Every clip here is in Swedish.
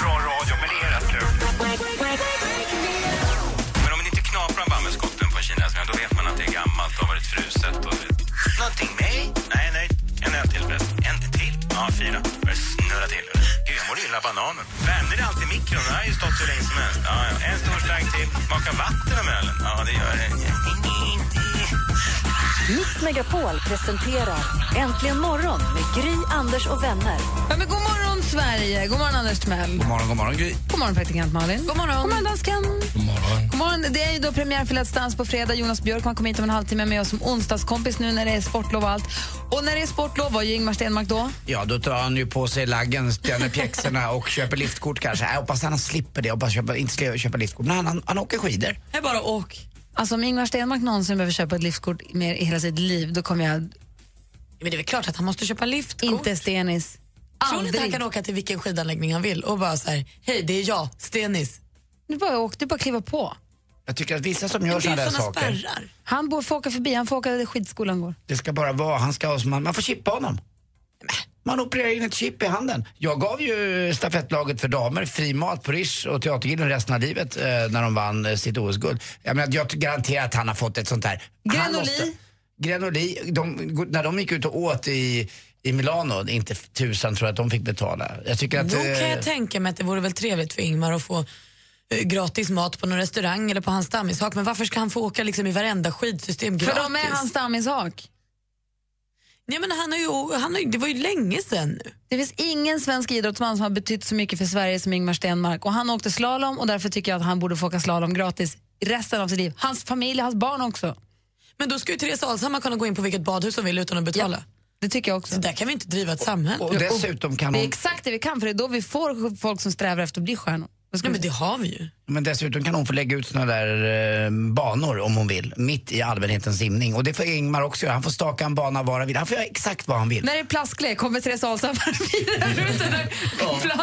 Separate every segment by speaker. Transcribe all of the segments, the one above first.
Speaker 1: bra radio, men det är rätt kul. Men om man inte knaprar bambuskotten på kinesiska, då vet man att det är gammalt och har varit fruset. Och... Någonting med? Nej, nej. En öl till förresten. En till? Ja, fyra. Börjar snurra till. Gud, jag mår illa av bananen. Värmer det alltid i mikron? Den har ju stått hur länge som helst. Ja, ja. En stor slang till. Maka vatten om ölen? Ja, det gör det.
Speaker 2: Mix Megapol presenterar Äntligen morgon med Gry, Anders och vänner.
Speaker 3: Ja, men god morgon, Sverige! God morgon, Anders Timell. God morgon, god morgon, Gry. God morgon, praktikant Malin. God morgon, god morgon dansken. God morgon. god morgon. Det är ju då premiär för Let's Dance på fredag. Jonas Björkman kommer hit om en halvtimme med oss som onsdagskompis nu när det är sportlov och allt. Och när det är sportlov, vad gör Ingemar Stenmark då?
Speaker 4: Ja, då tar han ju på sig laggen, spänner pjäxorna och köper liftkort kanske. Jag hoppas han slipper det. Jag hoppas han inte ska köpa liftkort. Men han, han, han åker skidor.
Speaker 3: Jag bara åk. Alltså om Ingvar Stenmark någonsin behöver köpa ett liftkort mer i hela sitt liv, då kommer jag
Speaker 5: Men det är väl klart att han måste köpa liftkort.
Speaker 3: inte Stenis.
Speaker 5: Tror ni inte han
Speaker 3: Aldrig.
Speaker 5: kan åka till vilken skidanläggning han vill och bara så här, hej det är jag, Stenis.
Speaker 3: Du bara åk, du bara kliva på.
Speaker 4: Jag tycker att vissa som
Speaker 5: Det
Speaker 4: gör
Speaker 5: är
Speaker 4: sådana där
Speaker 5: såna
Speaker 4: saker,
Speaker 5: spärrar.
Speaker 3: Han bor, får åka förbi, han får åka där skidskolan går.
Speaker 4: det ska bara vara, han ska ha, man, man får chippa honom. Man opererar in ett chip i handen. Jag gav ju stafettlaget för damer fri mat på Rish och Teatergillen resten av livet eh, när de vann eh, sitt OS-guld. Jag, menar, jag garanterar att han har fått ett sånt här. Han
Speaker 3: Grenoli.
Speaker 4: måste- Grenoli, de, när de gick ut och åt i, i Milano, inte tusan tror jag att de fick betala. Jag tycker att...
Speaker 5: Då
Speaker 4: eh,
Speaker 5: kan jag tänka mig att det vore väl trevligt för Ingmar att få eh, gratis mat på någon restaurang eller på hans stammishak. Men varför ska han få åka liksom i varenda skidsystem gratis?
Speaker 3: För de är hans stammishak.
Speaker 5: Nej, men han har ju, han har, ju- det var ju länge sedan nu.
Speaker 3: Det finns ingen svensk idrottsman som har betytt så mycket för Sverige som Ingmar Stenmark. Och han åkte slalom och därför tycker jag att han borde få åka slalom gratis resten av sitt liv. Hans familj, hans barn också.
Speaker 5: Men då ska ju Therese Alshammar kunna gå in på vilket badhus hon vill utan att betala.
Speaker 3: Det tycker jag också.
Speaker 5: Så där kan vi inte driva ett samhälle.
Speaker 4: Och dessutom kan
Speaker 3: Det är
Speaker 4: hon,
Speaker 3: exakt det vi kan för det är då vi får folk som strävar efter att bli stjärnor. Vad ska
Speaker 5: Nej,
Speaker 3: vi
Speaker 5: men det har vi ju.
Speaker 4: men dessutom kan hon få lägga ut såna där eh, banor om hon vill, mitt i allmänhetens simning. Och det får Ingmar också göra. Han får staka en bana var han vill. Han får göra exakt vad han vill.
Speaker 3: När det är plasklek kommer Therese Alshammar vidare ut den där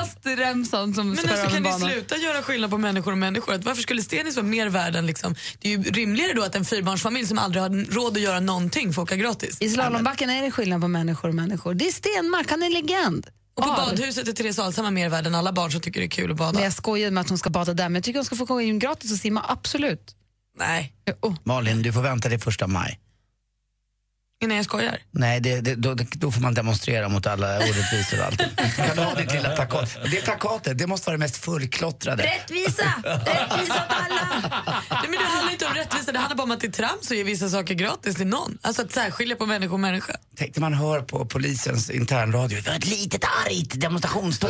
Speaker 3: plastremsan som
Speaker 5: Men
Speaker 3: spärrar
Speaker 5: alltså,
Speaker 3: av en
Speaker 5: kan ni
Speaker 3: bana.
Speaker 5: sluta göra skillnad på människor och människor? Att varför skulle Stenis vara mer värd än liksom? Det är ju rimligare då att en fyrbarnsfamilj som aldrig har råd att göra någonting får åka gratis.
Speaker 3: I slalombacken är det skillnad på människor och människor. Det är Stenmark, han är legend.
Speaker 5: Och på
Speaker 3: Av.
Speaker 5: badhuset är Therese Alshammar mer värd än alla barn som tycker det är kul att bada.
Speaker 3: Men jag skojar med att hon ska bada där, men jag tycker hon ska få komma in gratis och simma, absolut.
Speaker 5: Nej,
Speaker 3: Oh.
Speaker 4: Malin, du får vänta till första maj.
Speaker 5: nej jag skojar.
Speaker 4: Nej, det, det, då, då får man demonstrera mot alla orättvisor och allt. Kan du ha ditt lilla plakat? Det plakatet, det måste vara det mest fullklottrade.
Speaker 3: Rättvisa! Rättvisa åt alla!
Speaker 5: Nej, men det handlar inte om rättvisa, det handlar bara om att det är trams att ge vissa saker gratis till någon. Alltså att särskilja på människor och människa.
Speaker 4: Tänk när man hör på polisens internradio. Vi har ett litet argt demonstrationståg.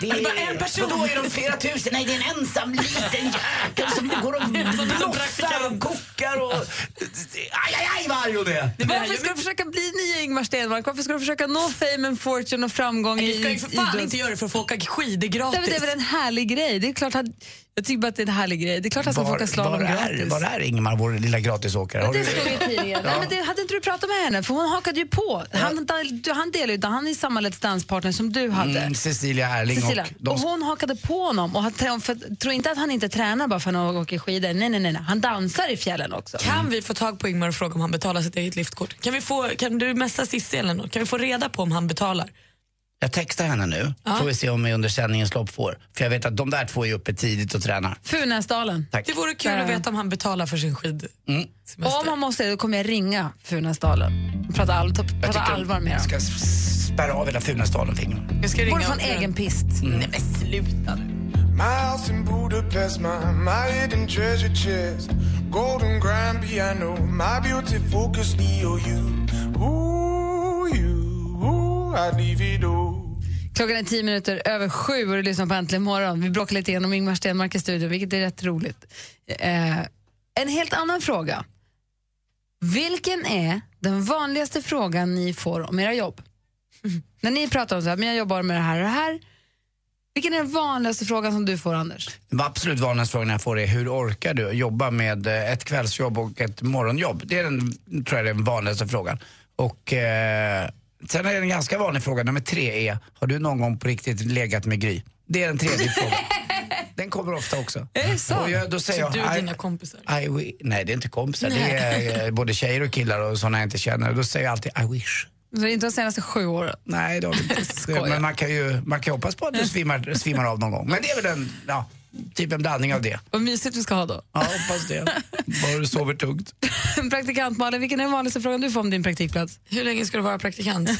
Speaker 4: Det är bara en person. Då är de flera tusen. Nej, det är en ensam liten jäkel som går och bloffar och kokar och... Aj, aj, aj vad arg hon är.
Speaker 3: Varför ska du försöka bli nya Ingmar Stenmark? Varför ska du försöka nå fame and fortune och framgång i
Speaker 5: Vi ska ju för fan
Speaker 3: idrotts-
Speaker 5: inte göra det för att få åka skidor
Speaker 3: Nej, men
Speaker 5: gratis.
Speaker 3: Det är väl en härlig grej? Det är klart att, jag tycker bara att det är en härlig grej. Det är klart att han ska få åka
Speaker 4: Var, var,
Speaker 3: slalom
Speaker 4: är,
Speaker 3: gratis.
Speaker 4: var är Ingmar, vår lilla gratisåkare? Har
Speaker 3: Det
Speaker 4: du-
Speaker 3: stod i tidningen. Nej, men det, hade inte du pratat med henne? För hon hakade ju på. Han, du- han delar ju inte, han är samma Let's Dance-partner som du hade.
Speaker 4: Mm, Cecilia Erling
Speaker 3: Cecilia.
Speaker 4: och...
Speaker 3: Och
Speaker 4: De,
Speaker 3: hon hakade på honom. Och han, trä- för, tror inte att han inte tränar bara för att han åker skidor. Nej, nej, nej. nej. Han dansar i fjällen också.
Speaker 5: Kan vi få tag på Ingmar och fråga om han betalar sitt eget liftkort? Kan, vi få, kan du messa Cissi eller något? Kan vi få reda på om han betalar?
Speaker 4: jag textar henne nu. Får vi se om vi under sändningens lopp får. För jag vet att de där två är uppe tidigt och tränar.
Speaker 3: Funäsdalen.
Speaker 4: Tack.
Speaker 5: Det vore kul
Speaker 3: Där.
Speaker 5: att veta om han betalar för sin
Speaker 3: Och
Speaker 5: skidsemester.
Speaker 3: om han måste då kommer jag ringa Funäsdalen. Och Prata, all, ta, prata
Speaker 4: tycker
Speaker 3: allvar med
Speaker 4: Jag
Speaker 3: dem.
Speaker 4: ska s- spärra av hela Funäsdalen fingrarna.
Speaker 5: Jag ska
Speaker 3: Borde
Speaker 5: ringa
Speaker 3: få en
Speaker 5: upp nu.
Speaker 3: egen pist.
Speaker 5: Nej men sluta nu.
Speaker 6: My house in Budapest, my, my hidden treasure chest, golden grand piano, my beauty focus, EOU. Ooh, you, ooh, I'd leave it all.
Speaker 3: Klockan är tio minuter över sju och du lyssnar på Äntligen morgon. Vi bråkar lite grann om Ingmar Stenmark i studion, vilket är rätt roligt. Eh, en helt annan fråga. Vilken är den vanligaste frågan ni får om era jobb? När ni pratar om så här, men jag jobbar med det här och det här. Vilken är den vanligaste frågan som du får, Anders?
Speaker 4: Den absolut vanligaste frågan jag får är hur orkar du jobba med eh, ett kvällsjobb och ett morgonjobb? Det är den, tror jag, den vanligaste frågan. Och eh, sen är det en ganska vanlig fråga, nummer tre är, har du någon gång på riktigt legat med Gry? Det är den tredje frågan. Den kommer ofta också.
Speaker 3: Är det sant?
Speaker 4: Och jag, då säger
Speaker 5: Så du och
Speaker 4: jag,
Speaker 5: dina kompisar.
Speaker 4: I, I wi- nej, det är inte kompisar. Det är eh, både tjejer och killar och sådana jag inte känner. Då säger jag alltid I wish.
Speaker 3: Så det är Alltså, inte de senaste sju åren.
Speaker 4: Nej, det har vi inte.
Speaker 3: Skojar.
Speaker 4: Men man kan ju man kan ju hoppas på att du svimmar, svimmar av någon gång. Men det är väl en, ja, typ en blandning av det.
Speaker 3: Vad mysigt vi ska ha då.
Speaker 4: Ja, hoppas det. Bara du sover tungt.
Speaker 3: Praktikant Malin, vilken är den vanligaste frågan du får om din praktikplats?
Speaker 5: Hur länge ska du vara praktikant?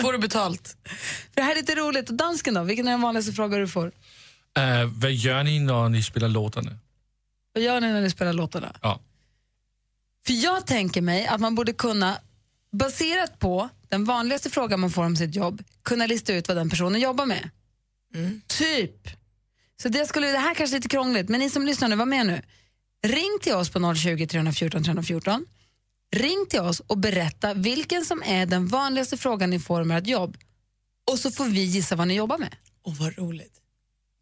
Speaker 5: Får du betalt?
Speaker 3: För det här är lite roligt. Och dansken då, vilken är den vanligaste frågan du får?
Speaker 7: Eh, vad gör ni när ni spelar låtarna?
Speaker 3: Vad gör ni när ni spelar låtarna?
Speaker 7: Ja.
Speaker 3: För jag tänker mig att man borde kunna, baserat på den vanligaste frågan man får om sitt jobb, kunna lista ut vad den personen jobbar med. Typ. Så det, skulle, det här kanske är lite krångligt, men ni som lyssnar nu, var med nu. Ring till oss på 020 314 314. Ring till oss och berätta vilken som är den vanligaste frågan ni får om ert jobb. Och så får vi gissa vad ni jobbar med.
Speaker 5: Åh, vad roligt.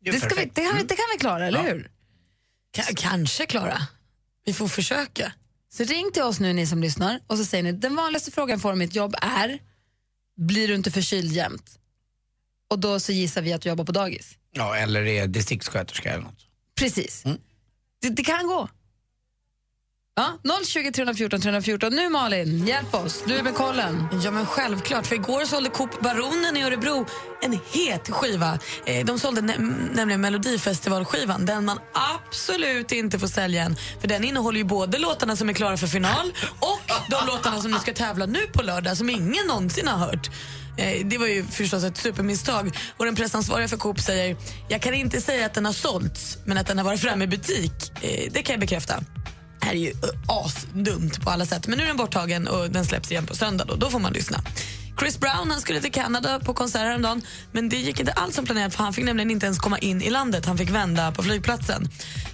Speaker 3: Det, ska vi, det, kan, vi, det kan vi klara, eller hur?
Speaker 5: Ka- kanske, Klara. Vi får försöka.
Speaker 3: Så ring till oss nu ni som lyssnar och så säger ni den vanligaste frågan för mitt jobb är blir du inte förkyld jämt? Och då så gissar vi att du jobbar på dagis.
Speaker 4: Ja, eller är distriktssköterska eller något.
Speaker 3: Precis. Det, det kan gå. Ja, 020 314 314. Nu Malin, hjälp oss. Du är med kollen.
Speaker 5: Ja men självklart, för igår sålde Coop Baronen i Örebro en het skiva. Eh, De sålde nä- m- nämligen Melodifestivalskivan, den man absolut inte får sälja än. För den innehåller ju både låtarna som är klara för final och de låtarna som ni ska tävla nu på lördag som ingen någonsin har hört. Eh, Det var ju förstås ett supermisstag. Och den pressansvariga för Coop säger, jag kan inte säga att den har sålts, men att den har varit framme i butik, eh, det kan jag bekräfta här är ju eh, asdumt på alla sätt. Men nu är den borttagen och den släpps igen på söndag. Då, då får man lyssna. Chris Brown han skulle till Kanada på konsert häromdagen men det gick inte alls som planerat för han fick nämligen inte ens komma in i landet. Han fick vända på flygplatsen.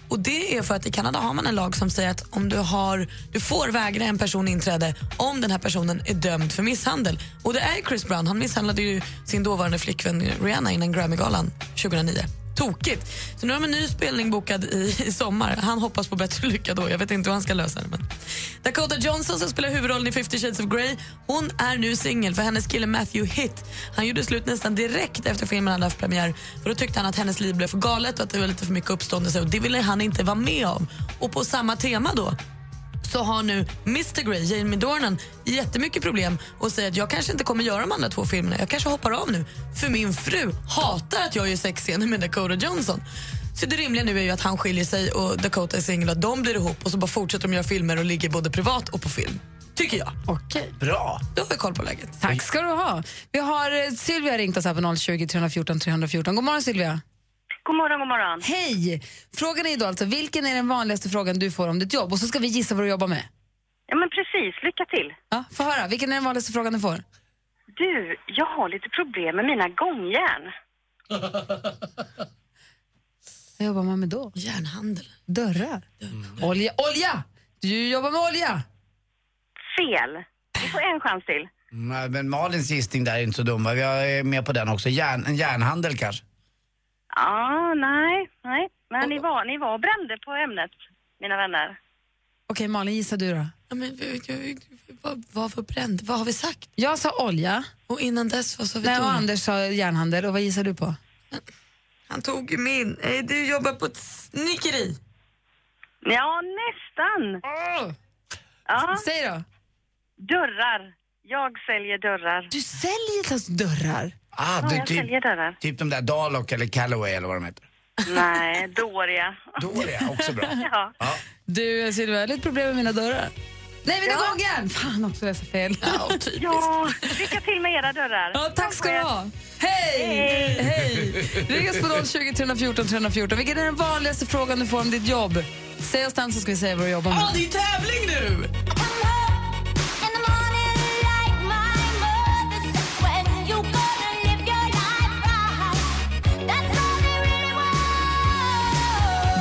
Speaker 5: Och Det är för att i Kanada har man en lag som säger att om du, har, du får vägra en person inträde om den här personen är dömd för misshandel. Och det är Chris Brown. Han misshandlade ju sin dåvarande flickvän Rihanna innan Grammygalan 2009 tokigt. Så nu har de en ny spelning bokad i, i sommar. Han hoppas på bättre lycka då. Jag vet inte hur han ska lösa det. Men. Dakota Johnson som spelar huvudrollen i 50 Shades of Grey hon är nu singel för hennes kille Matthew Hitt han gjorde slut nästan direkt efter filmen hade haft premiär. För då tyckte han att hennes liv blev för galet och att det var lite för mycket uppståndelse och det ville han inte vara med om. Och på samma tema då så har nu Mr Grey, Jamie Dornan, jättemycket problem och säger att jag kanske inte kommer göra de andra två filmerna. Jag kanske hoppar av nu, för min fru hatar att jag gör sexscener med Dakota Johnson. Så det rimliga nu är ju att han skiljer sig och Dakota är singel och att de blir ihop och så bara fortsätter de göra filmer och ligger både privat och på film. Tycker jag.
Speaker 3: Okej.
Speaker 4: Bra!
Speaker 5: Då har vi koll på läget.
Speaker 3: Tack ska du ha. Vi har eh, Sylvia ringt oss här på 020 314 314. God morgon Sylvia.
Speaker 8: God morgon, god morgon.
Speaker 3: Hej! Frågan är då alltså vilken är den vanligaste frågan du får om ditt jobb? Och så ska vi gissa vad du jobbar med.
Speaker 8: Ja, men precis. Lycka till.
Speaker 3: Ja, få höra. Vilken är den vanligaste frågan du får?
Speaker 8: Du, jag har lite problem med mina gångjärn.
Speaker 3: Vad jobbar man med då?
Speaker 5: Järnhandel.
Speaker 3: Dörrar? Olja! Olja! Du jobbar med olja!
Speaker 8: Fel. Du får en chans till.
Speaker 4: Mm, Men Malins gissning där är inte så dum. va? Jag är med på den också. Järn, en järnhandel kanske?
Speaker 8: ah, nej, nej. Men ni var, ni var brände på ämnet, mina vänner.
Speaker 3: Okej, Malin, gissa du då.
Speaker 5: Ja, men, vi- vi- vi- vad, vad för bränd? Vad har vi sagt?
Speaker 3: Jag sa olja,
Speaker 5: Och innan dess, vad sa vi
Speaker 3: nej,
Speaker 5: då?
Speaker 3: och Anders sa järnhandel. Och vad gissar du på?
Speaker 5: Han tog ju min. Eh, Du jobbar på ett snickeri. Ah.
Speaker 8: Ja, nästan. Ja,
Speaker 3: Säg då.
Speaker 8: dörrar. Jag säljer dörrar.
Speaker 3: Du säljer alltså dörrar?
Speaker 4: Ah,
Speaker 8: Ja,
Speaker 4: du,
Speaker 8: jag säljer
Speaker 4: typ,
Speaker 8: dörrar.
Speaker 4: typ de där Dalok eller Calloway eller vad de heter.
Speaker 8: Nej, dåliga.
Speaker 4: Då är det också bra.
Speaker 8: Ja.
Speaker 3: Du, Sylvia, jag har lite problem med mina dörrar. Nej, mina gångjärn! Fan också, jag sa fel.
Speaker 5: Ja, typiskt.
Speaker 8: ja, lycka till med era dörrar.
Speaker 3: Ja, tack ska du ha. Hej! Hej! Ring oss på 020 314 314. Vilken är den vanligaste frågan du får om ditt jobb? Säg oss den så ska vi säga vad du jobbar med.
Speaker 5: det är tävling nu!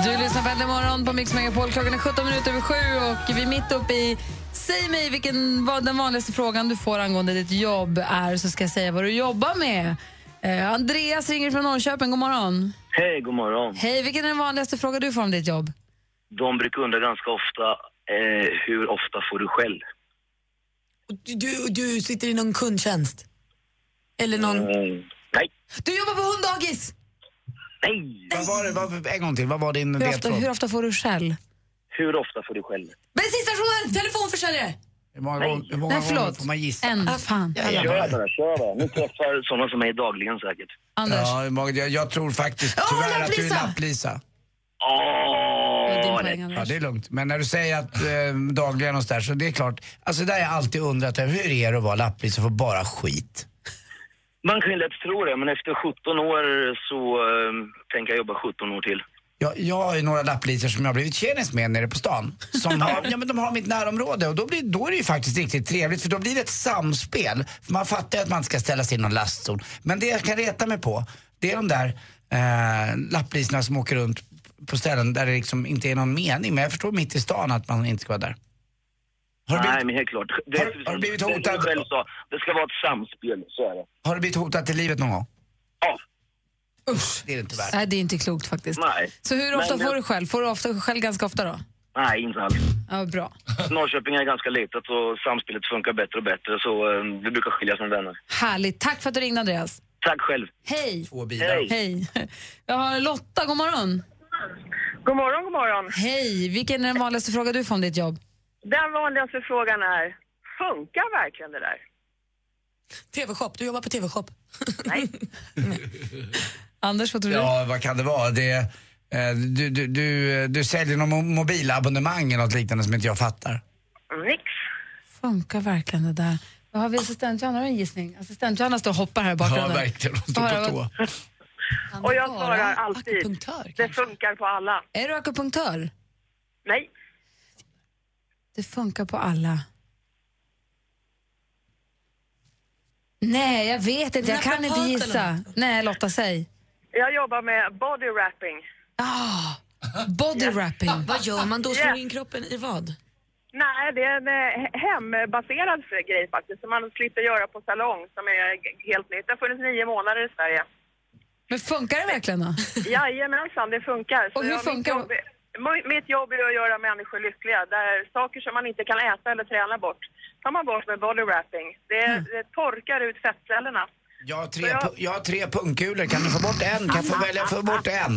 Speaker 3: Du lyssnar på Äntligen morgon på Mix Megapol. Klockan är 17 minuter över sju och vi är mitt uppe i Säg mig vilken vad den vanligaste frågan du får angående ditt jobb är så ska jag säga vad du jobbar med. Eh, Andreas ringer från Norrköping, god morgon.
Speaker 1: Hej, god morgon.
Speaker 3: Hej, vilken är den vanligaste frågan du får om ditt jobb?
Speaker 1: De brukar undra ganska ofta, eh, hur ofta får du skäll?
Speaker 9: Du, du, du sitter i någon kundtjänst? Eller någon...
Speaker 8: Mm,
Speaker 1: Nej.
Speaker 3: Du jobbar på hunddagis!
Speaker 1: Nej!
Speaker 4: Vad var det, vad, en gång till, vad var din
Speaker 3: Hur ofta,
Speaker 4: ledtråd?
Speaker 3: hur ofta får du skäll?
Speaker 1: Hur ofta får du skäll?
Speaker 3: Bensinstationen! Telefonförsäljare!
Speaker 4: Hur många, gång, hur många
Speaker 3: Nej,
Speaker 4: gånger
Speaker 3: förlåt.
Speaker 4: får man gissa?
Speaker 3: En. Ah, fan.
Speaker 1: Kör bara, kör bara. Ni träffar sådana som mig dagligen säkert.
Speaker 3: Anders?
Speaker 4: Ja, hur många, jag, jag tror faktiskt tyvärr att du är lapplisa.
Speaker 1: Åh,
Speaker 3: nej.
Speaker 4: Ja, det är lugnt. Men när du säger att eh, dagligen och sådär, så det är klart. Alltså där har jag alltid undrat, över, hur är det att vara lapplis och få bara skit?
Speaker 1: Man kan ju lätt tro det, men efter 17 år så eh, tänker jag jobba 17 år till.
Speaker 4: Jag, jag har ju några lappliser som jag har blivit tjenis med nere på stan. Som har, ja, men de har mitt närområde och då, blir, då är det ju faktiskt riktigt trevligt för då blir det ett samspel. För man fattar ju att man inte ska ställa sig i någon lastzon. Men det jag kan reta mig på, det är de där eh, lappliserna som åker runt på ställen där det liksom inte är någon mening. Men jag förstår mitt i stan att man inte ska vara där.
Speaker 1: Nej, men helt klart. Det, har, har du blivit hotad? Som du själv sa, det ska vara ett samspel, så är det.
Speaker 4: Har du blivit hotad till livet någon gång?
Speaker 3: Ja.
Speaker 4: Usch, det är det inte värt.
Speaker 3: Nej, det är inte klokt faktiskt.
Speaker 1: Nej.
Speaker 3: Så hur ofta
Speaker 1: Men-
Speaker 3: får du skäll? Får du ofta skäll ganska ofta då?
Speaker 1: Nej, inte alls.
Speaker 3: Ja, bra.
Speaker 1: Norrköping är ganska litet och samspelet funkar bättre och bättre, så eh, vi brukar skiljas som vänner.
Speaker 3: Härligt. Tack för att du ringde, Andreas.
Speaker 1: Tack själv.
Speaker 3: Hej!
Speaker 4: Två
Speaker 1: bilar.
Speaker 3: Hej. Jag har Lotta, god morgon.
Speaker 5: God morgon, god morgon.
Speaker 3: Hej. Vilken är den vanligaste frågan du får om ditt jobb?
Speaker 5: Den vanligaste frågan är, funkar verkligen det där?
Speaker 9: TV-shop, du jobbar på TV-shop.
Speaker 3: Anders, vad tror du?
Speaker 4: Ja, vad kan det vara? Det, eh, du, du, du, du säljer någon mo- mobilabonnemang eller något liknande som inte jag fattar.
Speaker 5: Nix.
Speaker 3: Funkar verkligen det där? Då har vi assistent Johanna, har du en gissning? Assistent Johanna står och hoppar här i bakgrunden.
Speaker 4: Ja, verkligen. Hon står
Speaker 3: Vad har
Speaker 4: på
Speaker 3: jag-
Speaker 4: tå.
Speaker 5: Och jag svarar alltid, det funkar på alla.
Speaker 3: Är du akupunktör?
Speaker 5: Nej.
Speaker 3: Det funkar på alla. Nej, jag vet inte. Jag kan inte
Speaker 5: Naprapat eller
Speaker 3: gissa. Nej, Lotta, säg.
Speaker 5: Jag jobbar med body wrapping.
Speaker 3: Ah, body wrapping.
Speaker 9: Vad gör man då?
Speaker 5: Ja.
Speaker 9: Slår in kroppen i vad?
Speaker 5: Nej, det är en eh, hembaserad grej faktiskt, som man slipper göra på salong, som är g- helt nytt. Det har funnits nio månader i Sverige.
Speaker 3: Men funkar det verkligen då?
Speaker 5: Jajamensan, det funkar. Så
Speaker 3: Och hur
Speaker 5: jag-
Speaker 3: funkar-
Speaker 5: Mitt jobb, är- mitt jobb är att göra människor lyckliga. Där saker som man inte kan äta eller träna bort tar man bort med body wrapping. Det,
Speaker 3: Mm.
Speaker 5: det torkar ut fettcellerna.
Speaker 4: Jag har tre, pu- jag har tre pungkulor, kan du få bort en? Kan jag få välja att få bort en?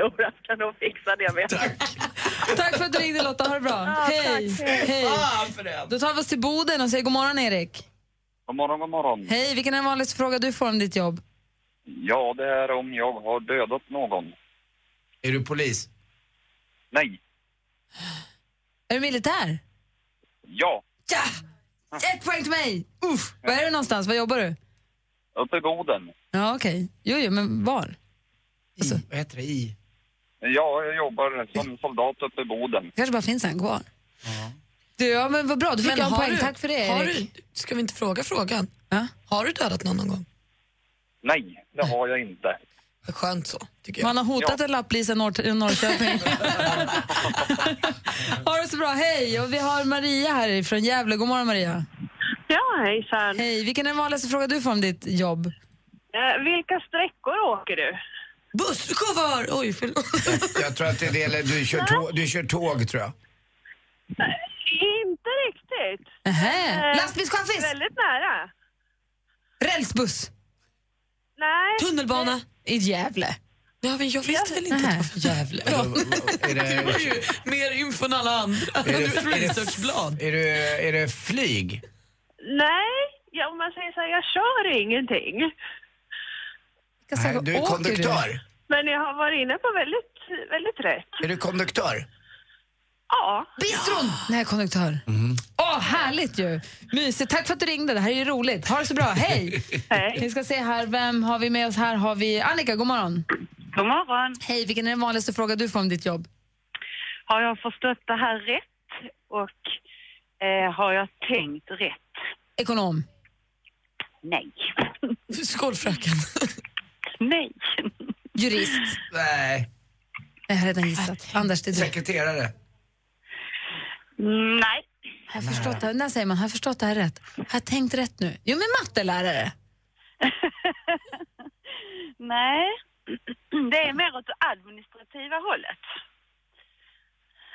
Speaker 5: Jo, jag ska nog fixa det med.
Speaker 3: Tack för att du ringde Lotta, ha det bra.
Speaker 5: Ja,
Speaker 3: Hej!
Speaker 5: tack. Ah. Hej.
Speaker 3: Hej.
Speaker 5: Fan för det.
Speaker 3: Då tar vi oss till Boden och säger god morgon Erik.
Speaker 10: God morgon, god morgon.
Speaker 3: Hej, vilken är den vanligaste frågan du får om ditt jobb?
Speaker 10: Ja, det är om jag har dödat någon.
Speaker 4: Är du polis?
Speaker 10: Nej.
Speaker 3: Är du militär?
Speaker 10: Ja.
Speaker 3: Ja! Ett poäng till mig! Uff. Var är du någonstans? Var jobbar du?
Speaker 10: Uppe i Boden.
Speaker 3: Ja, okej. Jo, jo, men var? Alltså,
Speaker 4: Vad heter det? I?
Speaker 10: Ja, jag jobbar som soldat uppe i Boden.
Speaker 3: kanske bara finns en kvar. Du, ja, men vad bra. Du fick
Speaker 9: Men
Speaker 3: jag en
Speaker 9: har
Speaker 3: poäng.
Speaker 9: du-
Speaker 3: Tack för det,
Speaker 9: har
Speaker 3: Erik.
Speaker 9: du, Ska vi inte fråga frågan? Har du dödat någon någon gång?
Speaker 10: Nej, det har jag inte.
Speaker 9: Det är Skönt så, tycker jag.
Speaker 3: Man har hotat en lapplis i Norr- i Norrköping. ha det så bra. Hej! Och vi har Maria här från Gävle. God morgon, Maria.
Speaker 2: Ja, hejsan.
Speaker 3: Hej. Vilken är den vanligaste frågan du får om ditt jobb?
Speaker 2: Eh, vilka sträckor åker du?
Speaker 9: Busschaufför! Oj, förlåt.
Speaker 4: Jag tror att det är det, eller du kör, tåg, du kör tåg tror jag.
Speaker 2: Inte riktigt.
Speaker 3: Nähä.
Speaker 2: Eh,
Speaker 3: Lastbilschaffis?
Speaker 2: Väldigt nära.
Speaker 3: Rälsbuss?
Speaker 2: Nej.
Speaker 9: Tunnelbana?
Speaker 3: I Gävle?
Speaker 9: Ja, men jag visste väl inte att det var för Gävle.
Speaker 4: Är det,
Speaker 9: Du har ju mer info än alla andra.
Speaker 4: är
Speaker 9: Du
Speaker 4: det,
Speaker 9: är ett
Speaker 4: är det,
Speaker 9: researchblad.
Speaker 4: är det, är det flyg?
Speaker 2: Nej, ja, om man säger så här, jag kör ingenting.
Speaker 4: Nej, du är konduktör.
Speaker 2: Men jag har varit inne på väldigt, väldigt rätt.
Speaker 4: Är du konduktör?
Speaker 2: Ja.
Speaker 3: Bistron! Nej, konduktör. Åh, härligt ju! Mysigt. Tack för att du ringde. Det här är ju roligt. Ha det så bra. Hej!
Speaker 2: Hej.
Speaker 3: Vi ska se här, vem har vi med oss? Här har vi Annika. God morgon. God morgon. Hej, vilken är den vanligaste frågan du får om ditt jobb?
Speaker 2: Har jag förstått det här rätt och eh, har jag tänkt rätt?
Speaker 3: Ekonom.
Speaker 2: Nej.
Speaker 9: Skolfröken.
Speaker 2: Nej.
Speaker 3: Jurist.
Speaker 4: Nej.
Speaker 3: Jag har redan gissat. Anders, det är du.
Speaker 4: Sekreterare?
Speaker 2: Nej.
Speaker 3: Har jag förstått det här? När säger man, har jag förstått det här rätt? Har jag tänkt rätt nu? Jo, men mattelärare.
Speaker 11: Nej, det är mer åt det administrativa hållet.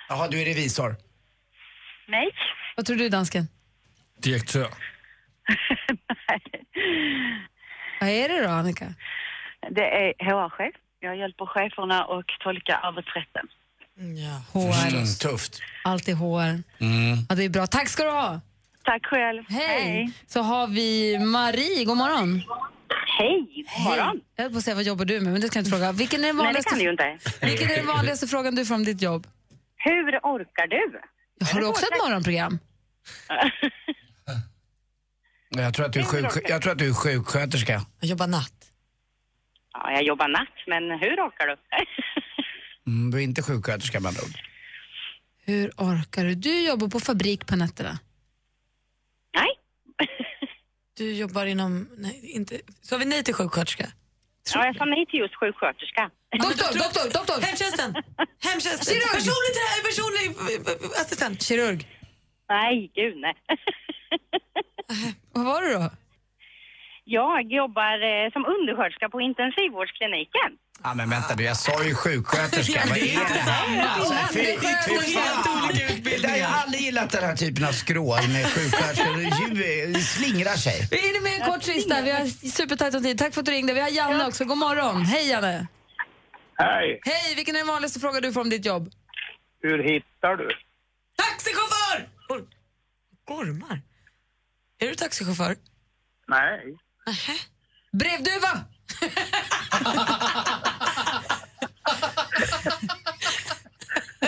Speaker 4: Jaha, du är revisor.
Speaker 11: Nej.
Speaker 3: Vad tror du, dansken?
Speaker 7: Direktör.
Speaker 3: Vad är det då, Annika?
Speaker 11: Det är HR-chef. Jag hjälper cheferna och tolkar arbetsrätten.
Speaker 3: Ja. HR.
Speaker 4: Mm, tufft.
Speaker 3: Allt är HR.
Speaker 4: Mm.
Speaker 3: Ja, det är bra. Tack ska du ha.
Speaker 11: Tack själv.
Speaker 3: Hej.
Speaker 11: Hej.
Speaker 3: Så har vi Marie. God morgon.
Speaker 11: Hej. God morgon.
Speaker 3: Jag höll på att säga vad jobbar du med, men det kan jag inte fråga. Vilken är den
Speaker 11: Nej, det
Speaker 3: vanligaste,
Speaker 11: kan du ju inte.
Speaker 3: Vilken är den vanligaste frågan du får om ditt jobb?
Speaker 11: Hur orkar du?
Speaker 3: Har du också ett morgonprogram?
Speaker 4: Jag tror, att du är sjuk, jag tror att du är sjuksköterska.
Speaker 5: Jag jobbar natt.
Speaker 11: Ja, jag jobbar natt, men hur orkar du?
Speaker 4: Mm, du är inte sjuksköterska med andra ord.
Speaker 3: Hur orkar du? Du jobbar på fabrik på nätterna.
Speaker 11: Nej.
Speaker 5: Du jobbar inom... Nej, inte... Så har vi nej till sjuksköterska?
Speaker 11: Ja, jag sa nej till just sjuksköterska.
Speaker 5: Doktor, doktor, doktor! Hemtjänsten! Hemtjänsten!
Speaker 11: Kirurg.
Speaker 5: Personlig, trä- personlig eh, eh, assistent!
Speaker 3: Kirurg.
Speaker 11: Nej, gud nej.
Speaker 3: Vad var du då?
Speaker 11: Jag jobbar eh, som undersköterska på intensivvårdskliniken.
Speaker 4: Ja, men vänta nu, jag sa ju sjuksköterska. Vad är det här?
Speaker 11: Ja,
Speaker 4: Alltså, fy-
Speaker 11: det är skönt.
Speaker 4: fy
Speaker 11: Det är
Speaker 4: fan.
Speaker 11: helt olika
Speaker 4: Jag har ju aldrig gillat den här typen av skrål med sjuksköterskor. Det ju- slingrar sig.
Speaker 3: Vi hinner med en kort sista. Vi har supertajt om tid. Tack för att du ringde. Vi har Janne också. God morgon. Hej Janne.
Speaker 12: Hej!
Speaker 3: Hej, vilken är den vanligaste frågan du får om ditt jobb?
Speaker 12: Hur hittar du?
Speaker 5: Taxichaufför! Or- Ormar? Är du taxichaufför?
Speaker 12: Nej.
Speaker 5: Nähä.
Speaker 3: Brevduva!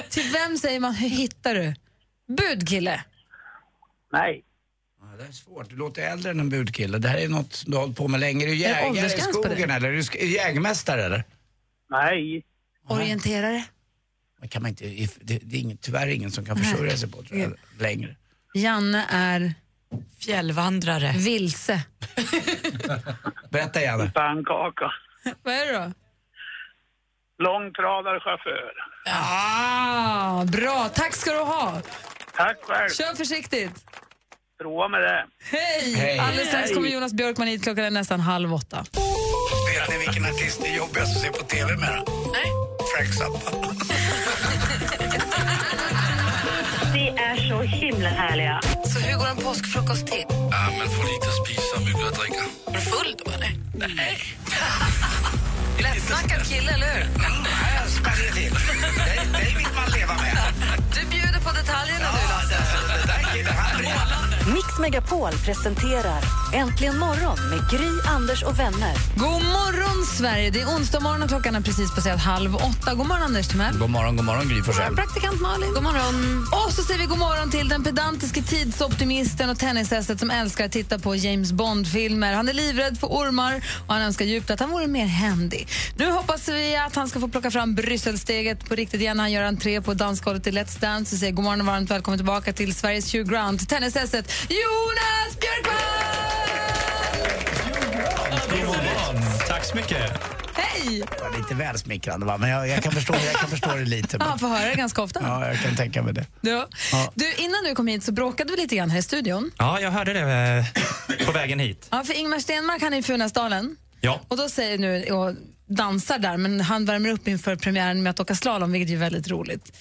Speaker 3: Till vem säger man hur hittar du? Budkille.
Speaker 12: Nej.
Speaker 4: det är svårt. Du låter äldre än en budkille. Det här är något du har hållit på med länge. Är du
Speaker 3: det
Speaker 4: jägare i
Speaker 3: åldersgräns på
Speaker 4: skogen
Speaker 3: det?
Speaker 4: eller? Är du sk- är du jägmästare eller?
Speaker 12: Nej.
Speaker 3: Orienterare.
Speaker 4: Det, kan man inte, if- det, det är ingen, tyvärr ingen som kan försörja sig på tror jag, längre.
Speaker 3: Janne är...
Speaker 5: Fjällvandrare.
Speaker 3: Vilse.
Speaker 4: Berätta Janne.
Speaker 12: Pannkaka.
Speaker 3: Vad är det då?
Speaker 12: Långtradarchaufför.
Speaker 3: Ah, bra, tack ska du ha.
Speaker 12: Tack själv.
Speaker 3: Kör försiktigt.
Speaker 12: Prova med det.
Speaker 3: Hej!
Speaker 12: Hej.
Speaker 3: Alldeles strax
Speaker 12: Hej.
Speaker 3: kommer Jonas Björkman hit. Klockan är nästan halv åtta.
Speaker 4: Vet ni vilken artist det är jobbigast att se på TV med? Nej. Frank Zappa.
Speaker 11: Ni är så himla härliga.
Speaker 5: Så hur går en påskfrukost till?
Speaker 1: Ja, man får lite att spisa och mycket att dricka.
Speaker 5: Är du full då eller?
Speaker 1: Nej.
Speaker 5: Lättsnackad kille, eller hur?
Speaker 4: Spänner till. Det- Det vill man leva med.
Speaker 5: Du bjuder på detaljerna du, Lasse.
Speaker 2: Mix Megapol presenterar Äntligen morgon med Gry, Anders och vänner.
Speaker 3: God morgon, Sverige! Det är onsdag morgon och klockan är precis passerat halv åtta. God morgon, Anders Timell.
Speaker 4: God morgon, god morgon Gry Forssell.
Speaker 3: Praktikant Malin. God morgon. Och så säger vi god morgon till den pedantiske tidsoptimisten och tennishästet som älskar att titta på James Bond-filmer. Han är livrädd för ormar och han önskar djupt att han vore mer händig. Nu hoppas vi att han ska få plocka fram Brysselsteget på riktigt igen när han gör entré på dansgolvet i Let's Dance. Vi säger god morgon och varmt välkommen tillbaka till Sveriges Hugh Grant, tennishästet Jonas Björkman!
Speaker 13: God morgon. Tack så mycket.
Speaker 3: Hej!
Speaker 4: Det var lite väl smickrande va? Men jag, jag, kan förstå, jag kan förstå det
Speaker 3: Ja,
Speaker 4: lite. Men,
Speaker 3: Han får höra det ganska ofta.
Speaker 4: ja, jag kan tänka mig det.
Speaker 3: Ja.
Speaker 13: Ja.
Speaker 3: Du, innan du kom hit så bråkade vi lite grann här i studion.
Speaker 13: Ja, jag hörde det eh, på vägen hit.
Speaker 3: Ja, för Ingmar Stenmark han är i Funäsdalen.
Speaker 13: Ja.
Speaker 3: Och då säger nu, och dansar där, men han värmer upp inför premiären med att åka slalom, vilket är väldigt roligt.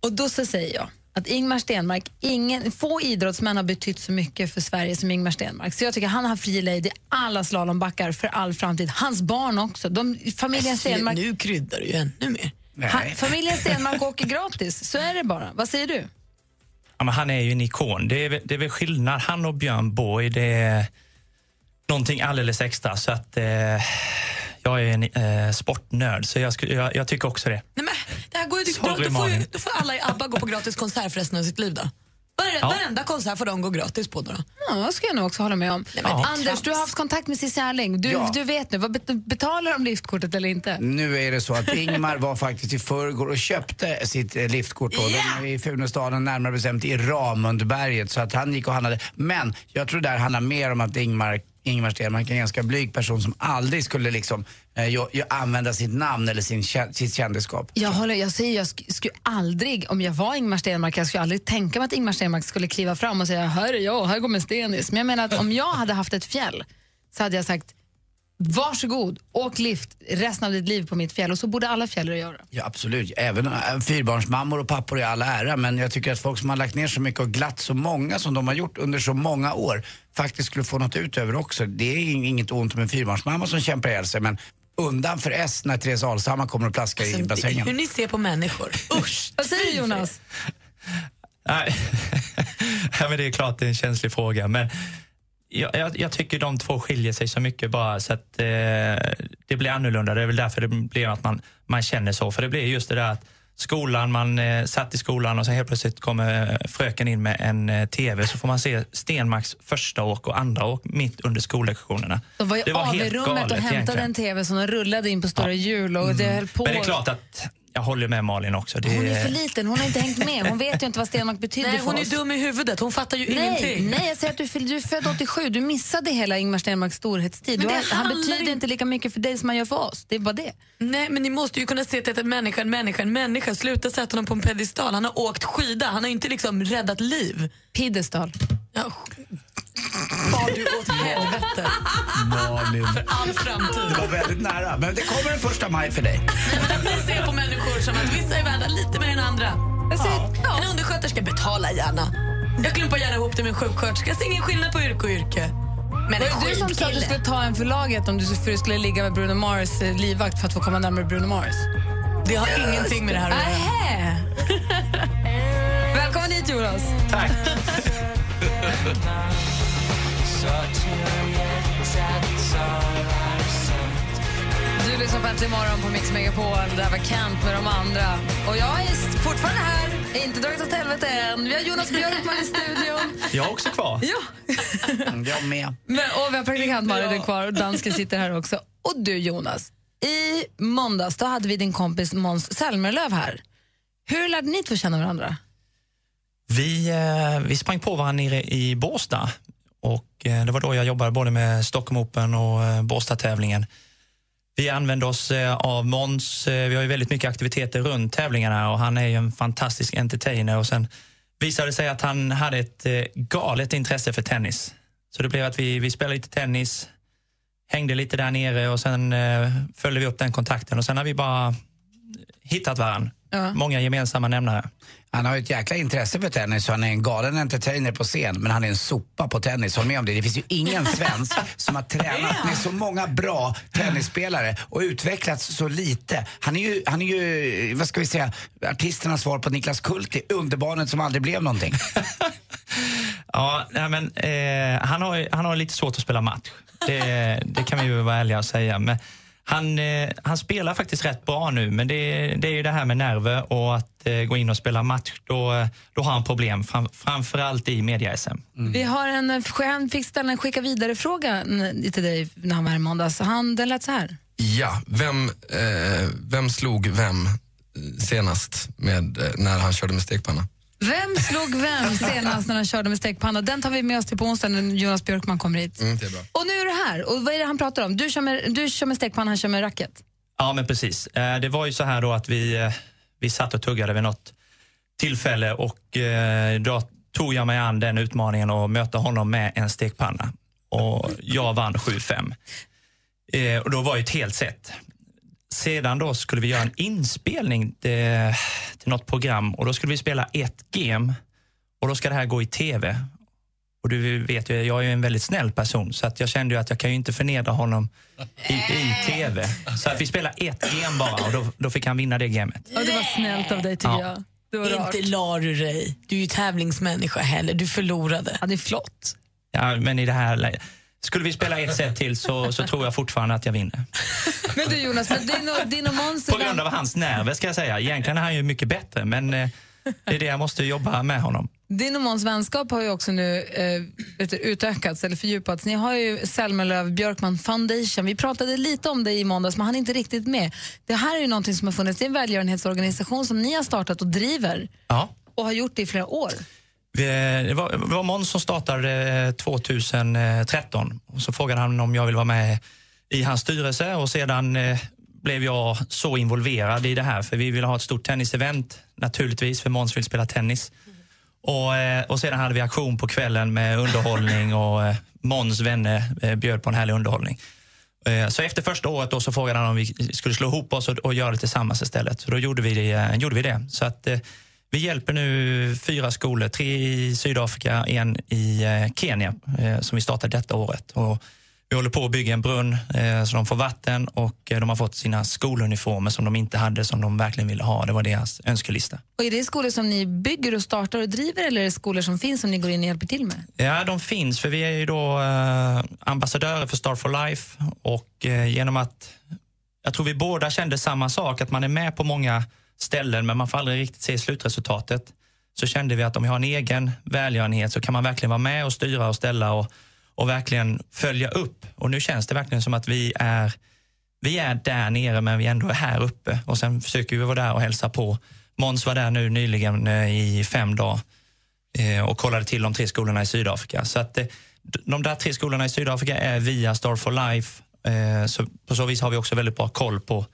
Speaker 3: Och då så säger jag att Ingmar Stenmark, ingen, få idrottsmän har betytt så mycket för Sverige som Ingmar Stenmark. Så jag tycker han har fri lejd i alla slalombackar för all framtid. Hans barn också. De, familjen Stenmark,
Speaker 5: Nu kryddar du ju ännu mer.
Speaker 3: ha, familjen Stenmark åker gratis, så är det bara. Vad säger du?
Speaker 13: Ja, men han är ju en ikon. Det är, väl- det är väl skillnad. Han och Björn Borg, det är någonting alldeles extra. Så att, eh, jag är en eh, sportnörd, så jag, skulle- jag, jag tycker också det.
Speaker 5: Det här går ju,
Speaker 13: Sorry,
Speaker 5: då, då, får ju,
Speaker 13: Malin.
Speaker 5: då får alla i ABBA gå på gratis konsert för resten av sitt liv. Då. Varenda,
Speaker 13: Ja.
Speaker 5: varenda konsert får de gå gratis på. Då.
Speaker 3: Ja, det ska jag nog också hålla med om.
Speaker 5: men det är
Speaker 3: Anders,
Speaker 5: trams.
Speaker 3: du har haft kontakt med Cissi Erling. Du,
Speaker 4: Ja. Mm.
Speaker 3: du vet nu, vad bet- betalar de liftkortet eller inte?
Speaker 4: Nu är det så att Ingmar var faktiskt i förrgår och köpte sitt eh, liftkort då, Den är i Funäsdalen, närmare bestämt i Ramundberget. Så att han gick och handlade. Men jag tror det här handlar mer om att Ingmar, Ingmar Stenmark är en ganska blyg person som aldrig skulle liksom eh, ju, ju använda sitt namn eller sin, kä- sitt kändisskap.
Speaker 3: Jag, håller, jag säger jag sk- skulle aldrig, om jag var Ingmar Stenmark, jag skulle aldrig tänka mig att Ingmar Stenmark skulle kliva fram och säga här är jag, här går min stenis. Men jag menar att om jag hade haft ett fjäll så hade jag sagt
Speaker 5: Varsågod, åk lift resten av ditt liv på mitt fjäll. Och så borde alla fjällare göra.
Speaker 4: Ja, absolut. Även äh, fyrbarnsmammor och pappor i all ära, men jag tycker att folk som har lagt ner så mycket och glatt så många som de har gjort under så många år faktiskt skulle få något utöver också. Det är ing- inget ont om en fyrbarnsmamma som kämpar ihjäl sig, men undan för S när Therese Alshammar kommer och plaskar
Speaker 5: Alltså,
Speaker 4: i bassängen.
Speaker 2: Hur ni ser på människor. Usch!
Speaker 5: Vad säger Jonas?
Speaker 3: Nej. ja, men det är klart det är en känslig fråga. Men jag, jag, jag tycker de två skiljer sig så mycket bara så att eh, det blir annorlunda. Det är väl därför det blir att man, man känner så. För det blir just det där att skolan, man eh, satt i skolan och sen helt plötsligt kommer eh, fröken in med en eh, TV så får man se Stenmarks första åk och andra åk mitt under skollektionerna.
Speaker 5: De var ju av i rummet och hämtade
Speaker 3: egentligen.
Speaker 5: en tv som de rullade in på stora hjul och det höll på.
Speaker 3: Men det är klart att jag håller med Malin också. Det,
Speaker 5: Hon är för liten, hon har inte hängt med. Hon vet ju inte vad Stenmark betyder
Speaker 2: Nej,
Speaker 5: för
Speaker 2: hon är
Speaker 5: oss.
Speaker 2: dum i huvudet. Hon fattar ju
Speaker 5: nej,
Speaker 2: ingenting.
Speaker 5: Nej, jag säger att du, är född- du är född 87. Du missade hela Ingmar Stenmarks storhetstid.
Speaker 2: Men det
Speaker 5: Du, har- han
Speaker 2: handlar
Speaker 5: betyder inte... lika mycket för dig som han gör för oss. Det är bara det.
Speaker 2: Nej, men ni måste ju kunna se att det är en människa, en människa, en människa. Sluta sätta honom på en pedestal. Han har åkt skida. Han har inte liksom räddat liv.
Speaker 5: Pedestal.
Speaker 2: Ja. Far du åt helvete.
Speaker 4: Malin.
Speaker 2: För all framtid.
Speaker 4: Det var väldigt nära, men det kommer den första maj för dig.
Speaker 2: Vi ser på människor som att vissa är värda lite mer än andra. ja. En undersköterska betalar gärna. Jag klumpar gärna ihop det med en sjuksköterska. Jag ser ingen skillnad på yrke och yrke.
Speaker 5: Men
Speaker 2: Men
Speaker 5: det
Speaker 2: en
Speaker 5: var ju du som sa att du
Speaker 2: skitkille.
Speaker 5: skulle ta en för laget om du, för du skulle ligga med Bruno Mars eh, livvakt för att få komma närmare Bruno Mars.
Speaker 2: Det har ingenting med det här att göra.
Speaker 5: Nähä! Välkommen hit, Jonas.
Speaker 3: Tack.
Speaker 5: Du lyssnar på Äntligen morgon på Mix Megapol. Det här var Kent med de andra. Och jag är fortfarande här. Jag har Inte dragit åt helvete än. Vi har Jonas Björkman i studion.
Speaker 3: Jag är också kvar.
Speaker 4: Mm, Jag med.
Speaker 5: Men, och vi har praktikant Malin är kvar och dansken sitter här också. Och du Jonas, i måndags då hade vi din kompis Måns Zelmerlöw här. Hur lärde ni två känna varandra?
Speaker 3: Vi, eh, vi sprang på varandra nere i Båstad. Och eh, det var då jag jobbade både med Stockholm Open och eh, Båstadtävlingen. Vi använder oss eh, av Måns. Eh, Vi har ju väldigt mycket aktiviteter runt tävlingarna och han är ju en fantastisk entertainer. Och sen visade det sig att han hade ett eh, galet intresse för tennis. Så det blev att vi, vi spelade lite tennis, hängde lite där nere och sen eh, följde vi upp den kontakten. Och sen har vi bara hittat varandra. Många gemensamma nämnare.
Speaker 4: Han har ju ett jäkla intresse för tennis och han är en galen entertainer på scen men han är en sopa på tennis, håll med om det. Det finns ju ingen svensk som har tränat med så många bra tennisspelare och utvecklats så lite. Han är ju, han är ju vad ska vi säga, artisternas svar på Niklas Kulti, underbarnet som aldrig blev någonting.
Speaker 3: Ja, nej men, eh, han, har, han har lite svårt att spela match. Det, det kan vi ju vara ärliga och säga. Men han, eh, han spelar faktiskt rätt bra nu, men det, det är ju det här med nerver och att eh, gå in och spela match. Då, eh, då har han problem, fram, framförallt i media-SM.
Speaker 14: Mm.
Speaker 5: Vi har en, eh, han fick ställa en skicka vidare-fråga n- till dig när han var här i måndags. Han, den lät så här.
Speaker 14: Ja, vem, eh, vem slog vem eh, senast med, eh, när han körde med stekpanna?
Speaker 5: Vem slog vem senast när han körde med stekpanna? Den tar vi med oss till på onsdag när Jonas Björkman kommer hit.
Speaker 14: Mm, det är bra.
Speaker 5: Och nu är du här. Och vad är det han pratar om? Du kör med, du kör med stekpanna, han kör med racket.
Speaker 3: Ja, men precis. Eh, Det var ju så här då att vi, eh, vi satt och tuggade vid något tillfälle och eh, då tog jag mig an den utmaningen och mötte honom med en stekpanna. Och jag vann 7-5. Eh, Och då var ju ett helt set. Sedan då skulle vi göra en inspelning till, till något program och då skulle vi spela ett game och då ska det här gå i tv. Och du vet ju, jag är ju en väldigt snäll person så att jag kände ju att jag kan ju inte förnedra honom i, i tv. Så att vi spelade ett game bara och då, då fick han vinna det gamet.
Speaker 5: Och det var snällt av dig tycker
Speaker 3: Ja.
Speaker 5: jag. Det var rart.
Speaker 2: Inte la du dig. Du är ju tävlingsmänniska heller. Du förlorade.
Speaker 5: Ja, det är flott.
Speaker 3: Ja, men i det här lä- Skulle vi spela ett set till så, så tror jag fortfarande att jag vinner.
Speaker 5: Men du Jonas, men din och, din och Måns...
Speaker 3: På grund av hans nerver ska jag säga. Egentligen är han ju mycket bättre men eh, det är det jag måste jobba med honom.
Speaker 5: Din och Måns vänskap har ju också nu eh, vet du, utökats eller fördjupats. Ni har ju Zelmerlöw Björkman Foundation. Vi pratade lite om det i måndags, men han är inte riktigt med. Det här är ju någonting som har funnits. Det är en välgörenhetsorganisation som ni har startat och driver
Speaker 3: Ja.
Speaker 5: och har gjort det i flera år.
Speaker 3: Vi, eh, Det var, det var Måns som startade eh, 2013 och så frågade han om jag ville vara med i hans styrelse och sedan eh, blev jag så involverad i det här för vi ville ha ett stort tennisevent naturligtvis för Måns vill spela tennis. Och, eh, och sedan hade vi aktion på kvällen med underhållning och eh, Måns vänner eh, bjöd på en härlig underhållning. Eh, Så efter första året då så frågade han om vi skulle slå ihop oss och, och göra det tillsammans istället. Så då gjorde vi det. eh, Gjorde vi, det. Så att, eh, vi hjälper nu fyra skolor, tre i Sydafrika, en i eh, Kenya eh, som vi startade detta året. Och vi håller på att bygga en brunn eh, så de får vatten och eh, de har fått sina skoluniformer som de inte hade som de verkligen ville ha. Det var deras önskelista.
Speaker 5: Och är det skolor som ni bygger och startar och driver eller är det skolor som finns som ni går in och hjälper till med?
Speaker 3: Ja, de finns. För vi är ju då eh, ambassadörer för Star for Life. Och eh, genom att... Jag tror vi båda kände samma sak, att man är med på många ställen men man får aldrig riktigt se slutresultatet. Så kände vi att om vi har en egen välgörenhet så kan man verkligen vara med och styra och ställa och, och verkligen följa upp. Och nu känns det verkligen som att vi är vi är där nere men vi ändå är här uppe och sen försöker vi vara där och hälsa på. Måns var där nu nyligen eh, i fem dagar eh, och kollade till de tre skolorna i Sydafrika. Så att eh, d- de där tre skolorna i Sydafrika är via Star for Life. eh, Så på så vis har vi också väldigt bra koll på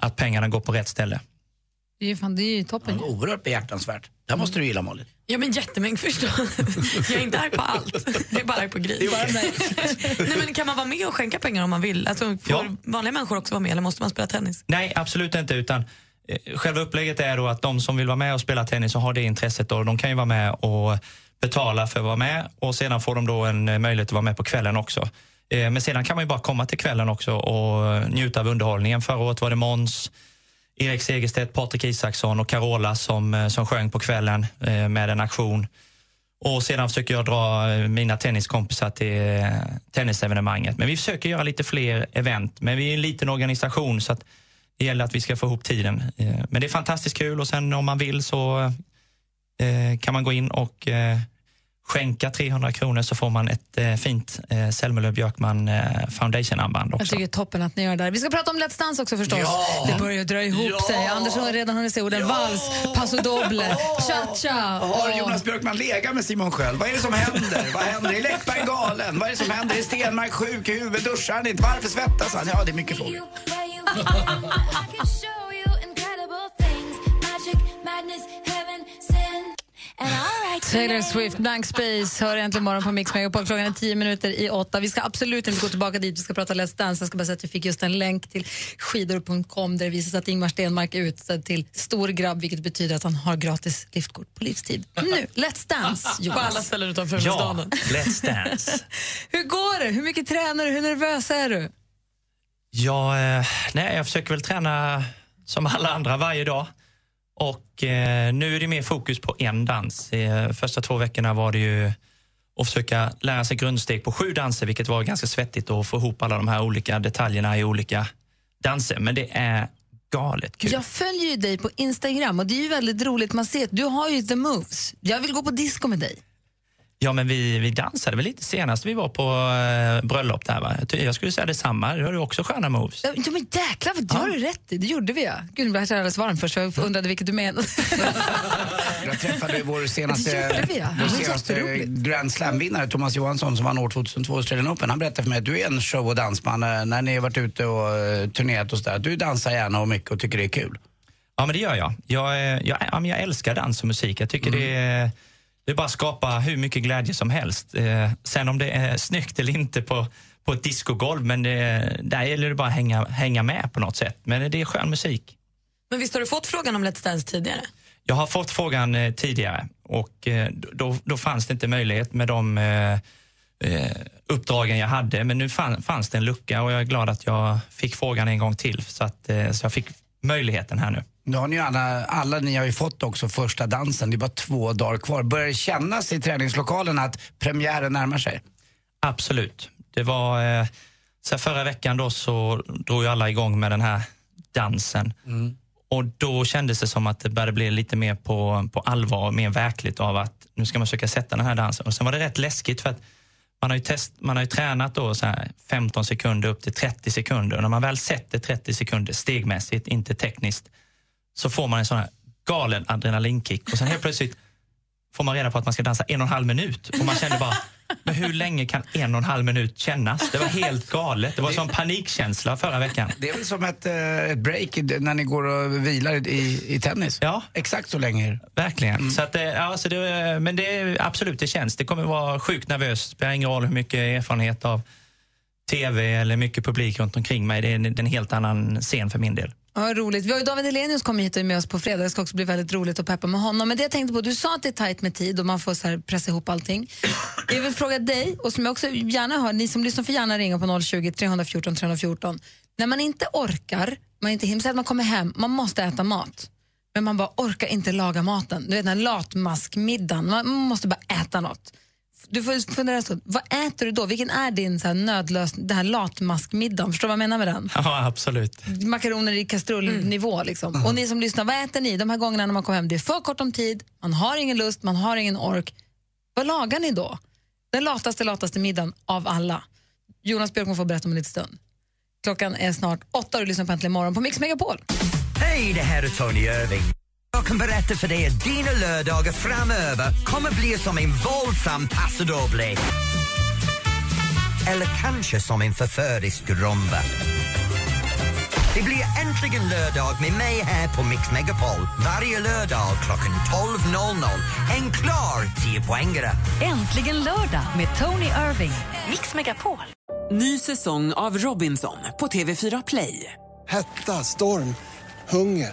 Speaker 3: att pengarna går på rätt ställe.
Speaker 5: Det är ju, fan, det är ju toppen.
Speaker 4: Oerhört behjärtansvärt. Det här måste du gilla Malin.
Speaker 15: Ja men jättemycket förstå. Jag är inte arg på allt. Jag är bara arg på Gry. Nej men kan man vara med och skänka pengar om man vill? Alltså, får
Speaker 3: Ja.
Speaker 15: vanliga människor också vara med eller måste man spela tennis?
Speaker 3: Nej, absolut inte. Utan eh, själva upplägget är då att de som vill vara med och spela tennis och har det intresset, då, de kan ju vara med och betala för att vara med och sedan får de då en eh, möjlighet att vara med på kvällen också. Eh, Men sedan kan man ju bara komma till kvällen också och eh, njuta av underhållningen. Förra året var det Måns, Erik Segerstedt, Patrik Isaksson och Carola som, eh, som sjöng på kvällen eh, med en aktion. Och sedan försöker jag dra eh, mina tenniskompisar till eh, tennisevenemanget. Men vi försöker göra lite fler event. Men vi är en liten organisation så att det gäller att vi ska få ihop tiden. Eh, Men det är fantastiskt kul och sen om man vill så eh, kan man gå in och eh, skänka 300 kronor så får man ett eh, fint eh, Selmerlöw Björkman eh, Foundation-armband
Speaker 5: Jag
Speaker 3: också.
Speaker 5: tycker det är toppen att ni gör det där. Vi ska prata om Let's Dance också förstås.
Speaker 3: Ja!
Speaker 5: Det börjar ju dra ihop
Speaker 4: Ja!
Speaker 5: sig. Anders har redan hunnit se orden vals, paso doble, cha-cha.
Speaker 4: Har
Speaker 5: och-
Speaker 4: Jonas Björkman legat med Simon Sköld? Vad är det som händer? Vad händer? Är Läckberg galen? Vad är det som händer? Är Stenmark sjuk i huvudet? Duschar han inte? Varför svettas han? Ja, det är mycket frågor.
Speaker 5: Taylor Swift, Blank Space, hör äntligen morgon på Mix Megapol. Klockan är tio minuter i åtta. Vi ska absolut inte gå tillbaka dit, vi ska prata Let's Dance. Jag ska bara säga att vi fick just en länk till skidor.com där det visas att Ingmar Stenmark är utsedd till stor grabb, vilket betyder att han har gratis liftkort på livstid. Nu, Let's Dance,
Speaker 15: På alla
Speaker 5: Jonas.
Speaker 15: ställen utanför
Speaker 3: Ja,
Speaker 15: staden.
Speaker 3: Let's Dance.
Speaker 5: Hur går det? Hur mycket tränar du? Hur nervös är du?
Speaker 3: Ja, eh, nej, jag försöker väl träna som alla andra varje dag. Och eh, nu är det mer fokus på en dans. Eh, första två veckorna var det ju att försöka lära sig grundsteg på sju danser, vilket var ganska svettigt att få ihop alla de här olika detaljerna i olika danser. Men det är galet kul.
Speaker 5: Jag följer ju dig på Instagram och det är ju väldigt roligt. Man ser att du har ju the moves. Jag vill gå på disco med dig.
Speaker 3: Ja, men vi, vi dansade väl lite senast vi var på eh, bröllop där va? Jag ty- Jag skulle säga detsamma, du har ju också sköna moves.
Speaker 5: Ja, men jäklar, vad du har du rätt i. Det gjorde vi ja. Gud, nu blev jag så alldeles varm först, för jag undrade vilket du menade.
Speaker 4: Jag träffade vår
Speaker 5: Det gjorde
Speaker 4: senaste,
Speaker 5: vi, ja. Det
Speaker 4: vår
Speaker 5: var
Speaker 4: senaste
Speaker 5: jätteroligt.
Speaker 4: Grand Slam-vinnare Thomas Johansson som vann år 2002 i Australian Open. Han berättade för mig att du är en show och dansman eh, när ni har varit ute och eh, turnerat och sådär. Du dansar gärna och mycket och tycker det är kul.
Speaker 3: Ja, men det gör jag. Jag, eh, jag, ja, men jag älskar dans och musik. Jag tycker det, är- det är bara att skapa hur mycket glädje som helst. Eh, sen om det är snyggt eller inte på, på ett discogolv, men det, där gäller det bara att hänga, hänga med på något sätt. Men det är skön musik.
Speaker 15: Men visst har du fått frågan om Let's Dance tidigare?
Speaker 3: Jag har fått frågan eh, tidigare och eh, då, då fanns det inte möjlighet med de eh, eh, uppdragen jag hade. Men nu fann, fanns det en lucka och jag är glad att jag fick frågan en gång till så, att, eh, så jag fick möjligheten här nu.
Speaker 4: Nu har ni ju alla, alla ni har ju fått också första dansen. Det är bara två dagar kvar. Börjar det kännas i träningslokalen att premiären närmar sig?
Speaker 3: Absolut. Det var, eh, så här förra veckan då så drog ju alla igång med den här dansen. Och då kändes det som att det började bli lite mer på, på allvar och mer verkligt av att nu ska man försöka sätta den här dansen. Och sen var det rätt läskigt för att man har ju, test, man har ju tränat då så här 15 sekunder upp till 30 sekunder. Och när man väl sätter 30 sekunder stegmässigt, inte tekniskt, så får man en sån här galen adrenalinkick. Och sen helt plötsligt får man reda på att man ska dansa en och en halv minut. Och man kände bara, men hur länge kan en och en halv minut kännas? Det var helt galet. Det var en sån panikkänsla förra veckan.
Speaker 4: Det är väl som ett, eh, ett break i- när ni går och vilar i, i tennis?
Speaker 3: Ja.
Speaker 4: Exakt så länge är det.
Speaker 3: Verkligen. Så att, eh, ja, så det, eh, men det är absolut, det känns. Det kommer vara sjukt nervöst. Spelar ingen roll hur mycket erfarenhet av tv eller mycket publik runt omkring mig. Det är en, det är en helt annan scen för min del.
Speaker 5: Ja, vad roligt. Vi har ju David Hellenius kommer hit och är med oss på fredag. Det ska också bli väldigt roligt att peppa med honom. Men det jag tänkte på, du sa att det är tajt med tid och man får så här pressa ihop allting. Jag vill fråga dig, och som jag också gärna hör, ni som lyssnar får gärna ringa på 020 314 314. När man inte orkar, man inte hinner, säg att man kommer hem, man måste äta mat. Men man bara orkar inte laga maten. Du vet den här latmaskmiddagen, man man måste bara äta något. Du får fundera så, vad äter du då? Vilken är din så här nödlösning, den här latmaskmiddagen? Förstår du vad jag menar med den?
Speaker 3: Ja, absolut.
Speaker 5: makaroner i kastrullnivå. Liksom. Och ni som lyssnar, vad äter ni de här gångerna när man kommer hem? Det är för kort om tid, man har ingen lust, man har ingen ork. Vad lagar ni då? Den lataste, lataste middagen av alla. Jonas Björk kommer få berätta om en liten stund. Klockan är snart åtta och du lyssnar på Äntligen morgon på Mix Megapol.
Speaker 4: Hej, det här är Tony Irving. Jag kan berätta för dig att dina lördagar framöver kommer bli som en våldsam pasodoble. Eller kanske som en förförisk rumba. Det blir äntligen lördag med mig här på Mix Megapol. Varje lördag klockan 12.00. En klar 10-poängare.
Speaker 2: Äntligen lördag med Tony Irving. Mix Megapol.
Speaker 16: Ny säsong av Robinson på TV4 Play.
Speaker 17: Hetta, storm, hunger.